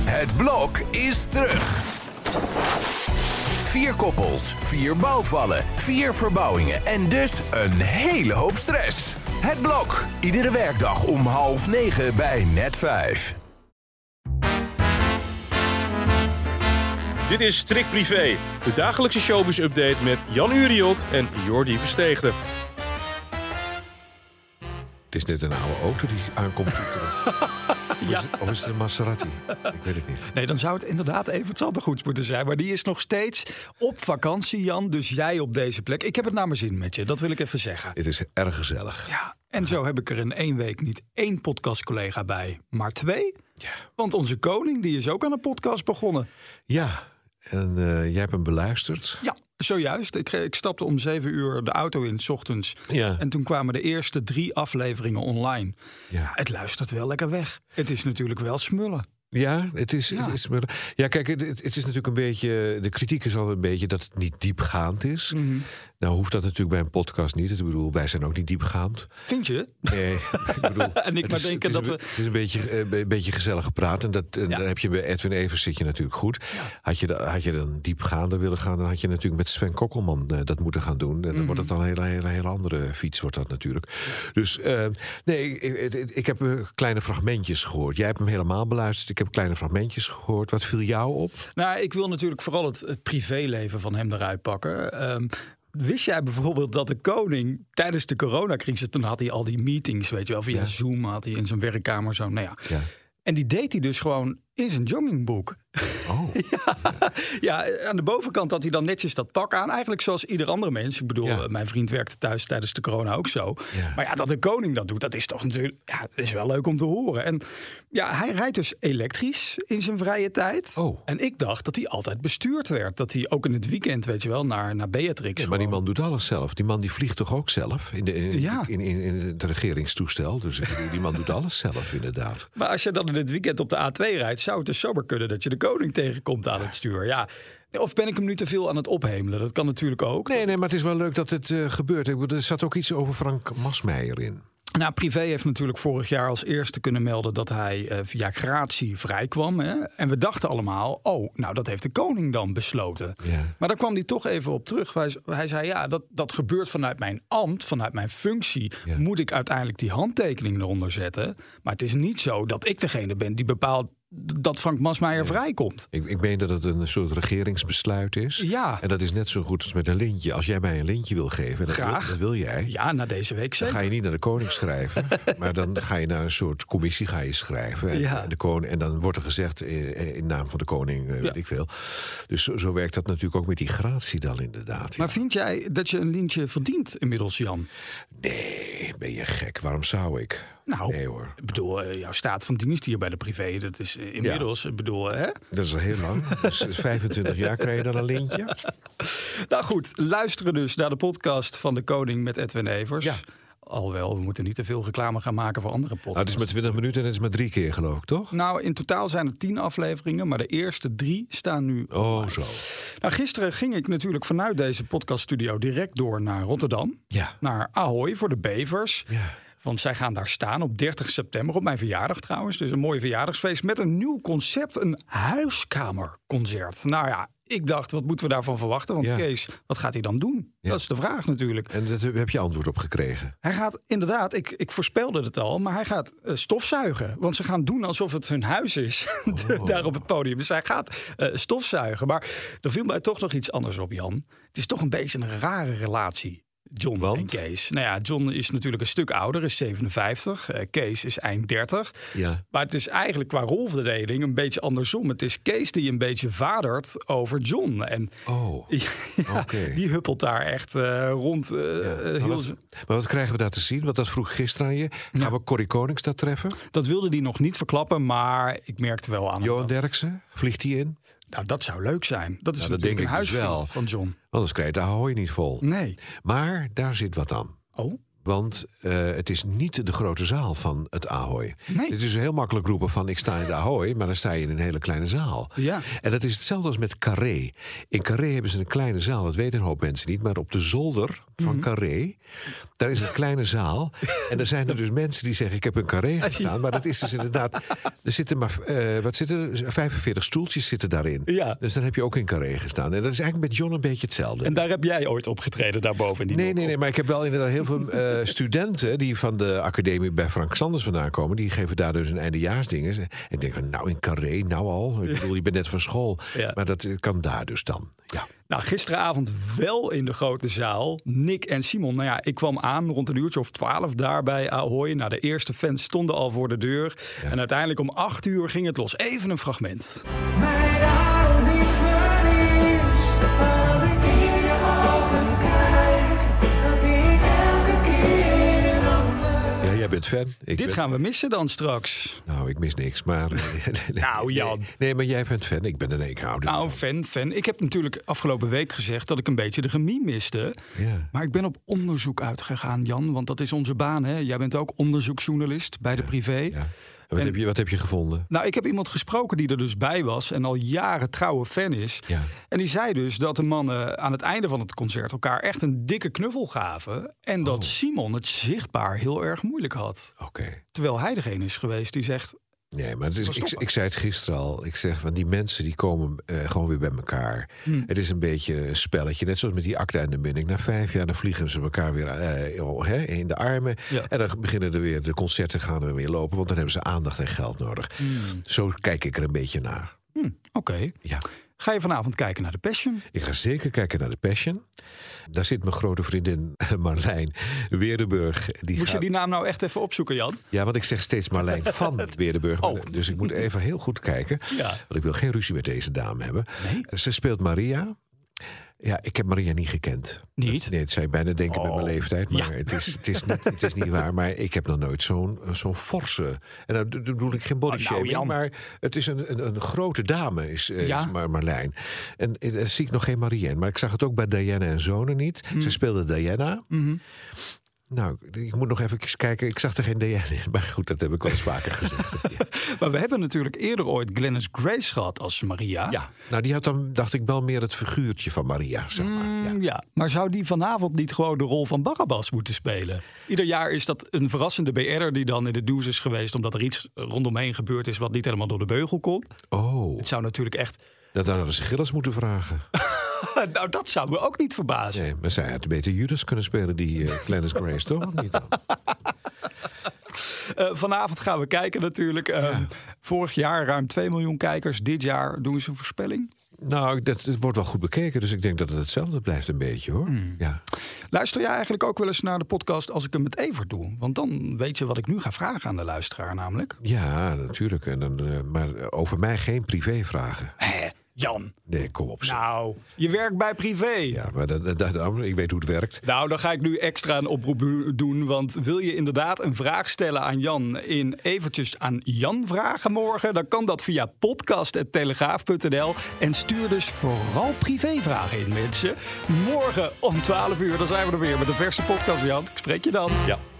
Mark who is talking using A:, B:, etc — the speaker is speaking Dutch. A: Het blok is terug. Vier koppels, vier bouwvallen, vier verbouwingen en dus een hele hoop stress. Het blok, iedere werkdag om half negen bij net vijf.
B: Dit is Strik Privé, de dagelijkse showbiz-update met Jan Uriot en Jordi Versteegde.
C: Het is net een oude auto die aankomt. Of is het- Of is het een Maserati? Ik weet het niet.
D: Nee, dan zou het inderdaad Evert Zandegoeds moeten zijn. Maar die is nog steeds op vakantie, Jan. Dus jij op deze plek. Ik heb het naar mijn zin met je, dat wil ik even zeggen.
C: Het is erg gezellig.
D: Ja, en zo heb ik er in één week niet één podcastcollega bij, maar twee. Want onze koning, die is ook aan een podcast begonnen.
C: Ja, en eh, jij hebt hem beluisterd.
D: Ja, zojuist. Ik, eh, ik stapte om zeven uur de auto in, s ochtends.
C: Ja.
D: En toen kwamen de eerste drie afleveringen online. Ja, het luistert wel lekker weg. Het is natuurlijk wel smullen.
C: Ja, het is.
D: Ja.
C: Ja, het is, ja kijk, het, het is natuurlijk een beetje. De kritiek is altijd een beetje dat het niet diepgaand is. Nou, hoeft dat natuurlijk bij een podcast niet. Ik bedoel, wij zijn ook niet diepgaand.
D: Vind je?
C: Nee, ik bedoel,
D: En ik
C: het
D: maar
C: is-
D: denken
C: het
D: dat
C: is een be- Het is een beetje, eh, be- een beetje gezellig gepraat. En dat, en
D: Ja.
C: daar heb je bij Edwin Evers zit je natuurlijk goed. Had, je, da- had je dan diepgaander willen gaan, dan had je natuurlijk met Sven Kokkelman eh, dat moeten gaan doen. En dan
D: Mhm.
C: wordt het dan een hele, hele, hele andere fiets, wordt dat natuurlijk. Dus eh, nee, ik, ik, ik heb eh, kleine fragmentjes gehoord. Jij hebt hem helemaal beluisterd. Ik heb kleine fragmentjes gehoord. Wat viel jou op?
D: Nou, ik wil natuurlijk vooral het, het privéleven van hem eruit pakken. Ehm, wist jij bijvoorbeeld dat de koning tijdens de coronacrisis... toen had hij al die meetings, weet je wel, via Zoom had hij in zijn werkkamer zo. Nou ja.
C: Ja.
D: En die deed hij dus gewoon in zijn joggingboek.
C: Oh,
D: Ja, eh, aan de bovenkant had hij dan netjes dat pak aan. Eigenlijk zoals ieder andere mens. Ik bedoel,
C: Ja.
D: eh, mijn vriend werkte thuis tijdens de corona ook zo.
C: Ja.
D: Maar ja, dat de koning dat doet, dat is toch natuurlijk... Ja, dat is wel leuk om te horen. En ja, hij rijdt dus elektrisch in zijn vrije tijd.
C: Oh.
D: En ik dacht dat hij altijd bestuurd werd. Dat hij ook in het weekend, weet je wel, naar, naar Beatrix
C: maar die
D: gewoon.
C: man doet alles zelf. Die man die vliegt toch ook zelf in, de, in,
D: Ja.
C: in, in, in het regeringstoestel. Dus ik bedoel, die man doet alles zelf, inderdaad.
D: Maar als je dan in het weekend op de A2 rijdt, zou het dus zomaar kunnen dat je de koning tegenkomt aan het stuur. Ja. Of ben ik hem nu te veel aan het ophemelen? Dat kan natuurlijk ook.
C: Nee, nee, maar het is wel leuk dat het eh, gebeurt. Ik bedoel, er zat ook iets over Frank Masmeijer in.
D: Nou, Privé heeft natuurlijk vorig jaar als eerste kunnen melden dat hij eh, via gratie vrijkwam. Hè? En we dachten allemaal, oh, nou dat heeft de koning dan besloten.
C: Ja.
D: Maar daar kwam hij toch even op terug. Hij, hij zei, ja, dat, dat gebeurt vanuit mijn ambt, vanuit mijn functie.
C: Ja.
D: Moet ik uiteindelijk die handtekening eronder zetten. Maar het is niet zo dat ik degene ben die bepaalt dat Frank Masmeijer vrijkomt.
C: Ik, ik meen dat het een soort regeringsbesluit is.
D: Ja.
C: En dat is net zo goed als met een lintje. Als jij mij een lintje wil geven, en dat wil-
D: Graag.
C: dat wil jij.
D: Ja, na deze week
C: Dan
D: zeker.
C: ga je niet naar de koning schrijven, maar dan ga je naar een soort commissie ga je schrijven. En,
D: Ja.
C: de koning, en dan wordt er gezegd in, in naam van de koning, eh, weet ik veel. Dus zo, zo werkt dat natuurlijk ook met die gratie dan inderdaad.
D: Maar vind jij dat je een lintje verdient inmiddels, Jan?
C: Nee, ben je gek? Waarom zou ik?
D: Nou,
C: Nee hoor,
D: Ik bedoel, eh, jouw staat van dienst hier bij de privé, dat is eh, inmiddels, ik bedoel, hè?
C: dat is al heel lang. Dus 25 jaar krijg je dan een lintje.
D: Nou goed, luisteren dus naar de podcast van de Koning met Edwin Evers.
C: Ja.
D: Alhoewel, we moeten niet te veel reclame gaan maken voor andere podcasts.
C: Nou, het is maar 20 minuten en het is maar drie keer geloof ik, toch?
D: Nou, in totaal zijn er tien afleveringen, maar de eerste drie staan nu.
C: Oh, zo.
D: Nou, gisteren ging ik natuurlijk vanuit deze podcaststudio direct door naar Rotterdam.
C: Ja.
D: Naar Ahoy voor de Bevers.
C: Ja.
D: Want zij gaan daar staan op 30 september, op mijn verjaardag trouwens. Dus een mooi verjaardagsfeest met een nieuw concept, een huiskamerconcert. Nou ja, ik dacht, wat moeten we daarvan verwachten? Want
C: Ja.
D: Kees, wat gaat hij dan doen?
C: Ja.
D: Dat is de vraag natuurlijk.
C: En daar heb je antwoord op gekregen.
D: Hij gaat inderdaad, ik, ik voorspelde het al, maar hij gaat eh, stofzuigen. Want ze gaan doen alsof het hun huis is, de-
C: Oh.
D: daar op het podium. Dus hij gaat eh, stofzuigen. Maar er viel mij toch nog iets anders op, Jan. Het is toch een beetje een rare relatie, John en
C: Want?
D: Kees. Nou ja, John is natuurlijk een stuk ouder, is 57. eh, Kees is eind 30.
C: Ja.
D: Maar het is eigenlijk qua rolverdeling een beetje andersom. Het is Kees die een beetje vadert over John. En
C: Oh.
D: ja,
C: Oké.
D: die huppelt daar echt eh, rond. eh, eh,
C: Maar,
D: heel
C: wat, maar wat krijgen we daar te zien? Want dat vroeg gisteren aan je. Gaan we Corrie Konings daar treffen?
D: Dat wilde hij nog niet verklappen, maar ik merkte wel aan hem
C: Johan
D: dat-
C: Derksen? Vliegt hij in?
D: Nou, dat zou leuk zijn. Dat is
C: Nou, dat
D: natuurlijk
C: denk
D: een
C: ik dus
D: huisvriend
C: wel.
D: van John.
C: Anders krijg je de Ahoy niet vol.
D: Nee.
C: Maar daar zit wat aan.
D: Oh,
C: Want eh, het is niet de grote zaal van het Ahoy.
D: Nee.
C: Het is heel makkelijk roepen van ik sta in de Ahoy, maar dan sta je in een hele kleine zaal.
D: Ja.
C: En dat is hetzelfde als met Carré. In Carré hebben ze een kleine zaal, dat weten een hoop mensen niet. Maar op de zolder
D: Mhm.
C: van Carré. Daar is een kleine zaal. En er zijn er dus mensen die zeggen: Ik heb een Carré gestaan. Maar dat is dus inderdaad. Er zitten maar eh, wat zitten er? 45 stoeltjes zitten daarin.
D: Ja.
C: Dus dan heb je ook in Carré gestaan. En dat is eigenlijk met John een beetje hetzelfde.
D: En daar heb jij ooit opgetreden, daarboven. in die
C: Nee,
D: doel-
C: nee, nee, maar ik heb wel inderdaad heel veel eh, studenten die van de academie bij Frank Sanders vandaan komen. Die geven daar dus een eindejaarsdingen. En ik denk, van, nou in Carré, nou al. Ik bedoel, je bent net van school.
D: Ja.
C: Maar dat eh, kan daar dus dan. Ja.
D: Nou, gisteravond wel in de grote zaal. Nick en Simon. Nou ja, ik kwam aan rond een uurtje of twaalf daar bij Ahoy. Nou, de eerste fans stonden al voor de deur. En uiteindelijk om acht uur ging het los. Even een fragment.
E: Might I be furnished as a king of the kite, as he held the kingdom of the-
C: ja, jij bent fan. Ik
D: Dit
C: ben-
D: gaan we missen dan straks.
C: Nou, ik mis niks, maar... eh,
D: Nou, Jan.
C: Nee, nee, maar jij bent fan. Ik ben een eekhouden.
D: Nou, fan, fan. Ik heb natuurlijk afgelopen week gezegd dat ik een beetje de chemie miste.
C: Ja.
D: Maar ik ben op onderzoek uitgegaan, Jan. Want dat is onze baan, hè? Jij bent ook onderzoeksjournalist bij de privé.
C: Ja. En Wat, heb je, wat heb je gevonden?
D: Nou, ik heb iemand gesproken die er dus bij was en al jaren trouwe fan is.
C: Ja.
D: En die zei dus dat de mannen aan het einde van het concert elkaar echt een dikke knuffel gaven. En
C: Oh.
D: dat Simon het zichtbaar heel erg moeilijk had.
C: Oké.
D: Terwijl hij degene is geweest die zegt.
C: Nee, maar het is,
D: Maar
C: ik,
D: stoppen.
C: ik zei het gisteren al. Ik zeg van die mensen die komen eh, gewoon weer bij elkaar.
D: Hmm.
C: Het is een beetje een spelletje. Net zoals met die acta en de binding. Na vijf jaar dan vliegen ze elkaar weer eh, oh, hè, in de armen.
D: Ja.
C: En dan beginnen er weer de concerten gaan er weer lopen. Want dan hebben ze aandacht en geld nodig.
D: Hmm.
C: Zo kijk ik er een beetje naar.
D: Hm, oké.
C: Ja.
D: Ga je vanavond kijken naar de Passion?
C: Ik ga zeker kijken naar de Passion. Daar zit mijn grote vriendin Marlijn Weerdenburg. Die
D: Moest
C: gaat...
D: je die naam nou echt even opzoeken, Jan?
C: Ja, want ik zeg steeds Marlijn van Weerdenburg. maar- Dus ik moet even heel goed kijken.
D: Oh. Ja.
C: Want ik wil geen ruzie met deze dame hebben. Ze speelt Maria. Ja, ik heb Maria niet gekend.
D: Niet? Oh.
C: Dat- nee, het zou je bijna denken met mijn leeftijd. Maar het, is, het, is niet, het is niet waar. Maar ik heb nog nooit zo'n zo'n forse... En daar do- bedoel ik geen body
D: Oh, nou,
C: shaming,
D: Jan.
C: maar het is een, een, een grote dame, is, eh,
D: Ja.
C: is Mar- Marlijn. En eh, daar zie ik nog geen Maria in. Maar ik zag het ook bij Diana en Zonen niet.
D: Mhm.
C: Ze speelde Diana. Nou, ik moet nog even kijken. Ik zag er geen DN in. Maar goed, dat heb ik al eens vaker gezegd.
D: Maar we hebben natuurlijk eerder ooit Glennis Grace gehad als Maria.
C: ja. Nou, die had dan, dacht ik, wel meer het figuurtje van Maria, zeg maar. Ja.
D: Mm, Ja, maar zou die vanavond niet gewoon de rol van Barabbas moeten spelen? Ieder jaar is dat een verrassende BR'er die dan in de douche is geweest... omdat er iets rondomheen gebeurd is wat niet helemaal door de beugel kon.
C: Oh,
D: Het zou natuurlijk echt...
C: dat hadden ze Gilles moeten vragen.
D: Nou, dat zou me ook niet verbazen.
C: Nee, maar zij had beter Judas kunnen spelen, die eh Glennis Grace, toch? Of Niet dan?
D: Eh, vanavond gaan we kijken natuurlijk. Ehm, Vorig jaar ruim 2 miljoen kijkers. Dit jaar doen ze een voorspelling.
C: Nou, dat, het wordt wel goed bekeken. Dus ik denk dat het hetzelfde blijft een beetje, hoor.
D: Mm.
C: Ja.
D: Luister jij eigenlijk ook wel eens naar de podcast als ik hem met Evert doe? Want dan weet je wat ik nu ga vragen aan de luisteraar namelijk.
C: ja, natuurlijk. En dan, eh, maar over mij geen privévragen.
D: Hé, Jan.
C: Nee, kom op. zeg.
D: Nou, je werkt bij privé.
C: Ja, maar dat, dat, dat- ik weet hoe het werkt.
D: Nou, dan ga ik nu extra een oproep bu- doen. Want wil je inderdaad een vraag stellen aan Jan in eventjes aan Jan vragen morgen? Dan kan dat via podcast.telegraaf.nl. En stuur dus vooral privévragen in, mensen. Morgen om 12 uur, dan zijn we er weer met de verse podcast, Jan. Ik spreek je dan.
B: Ja.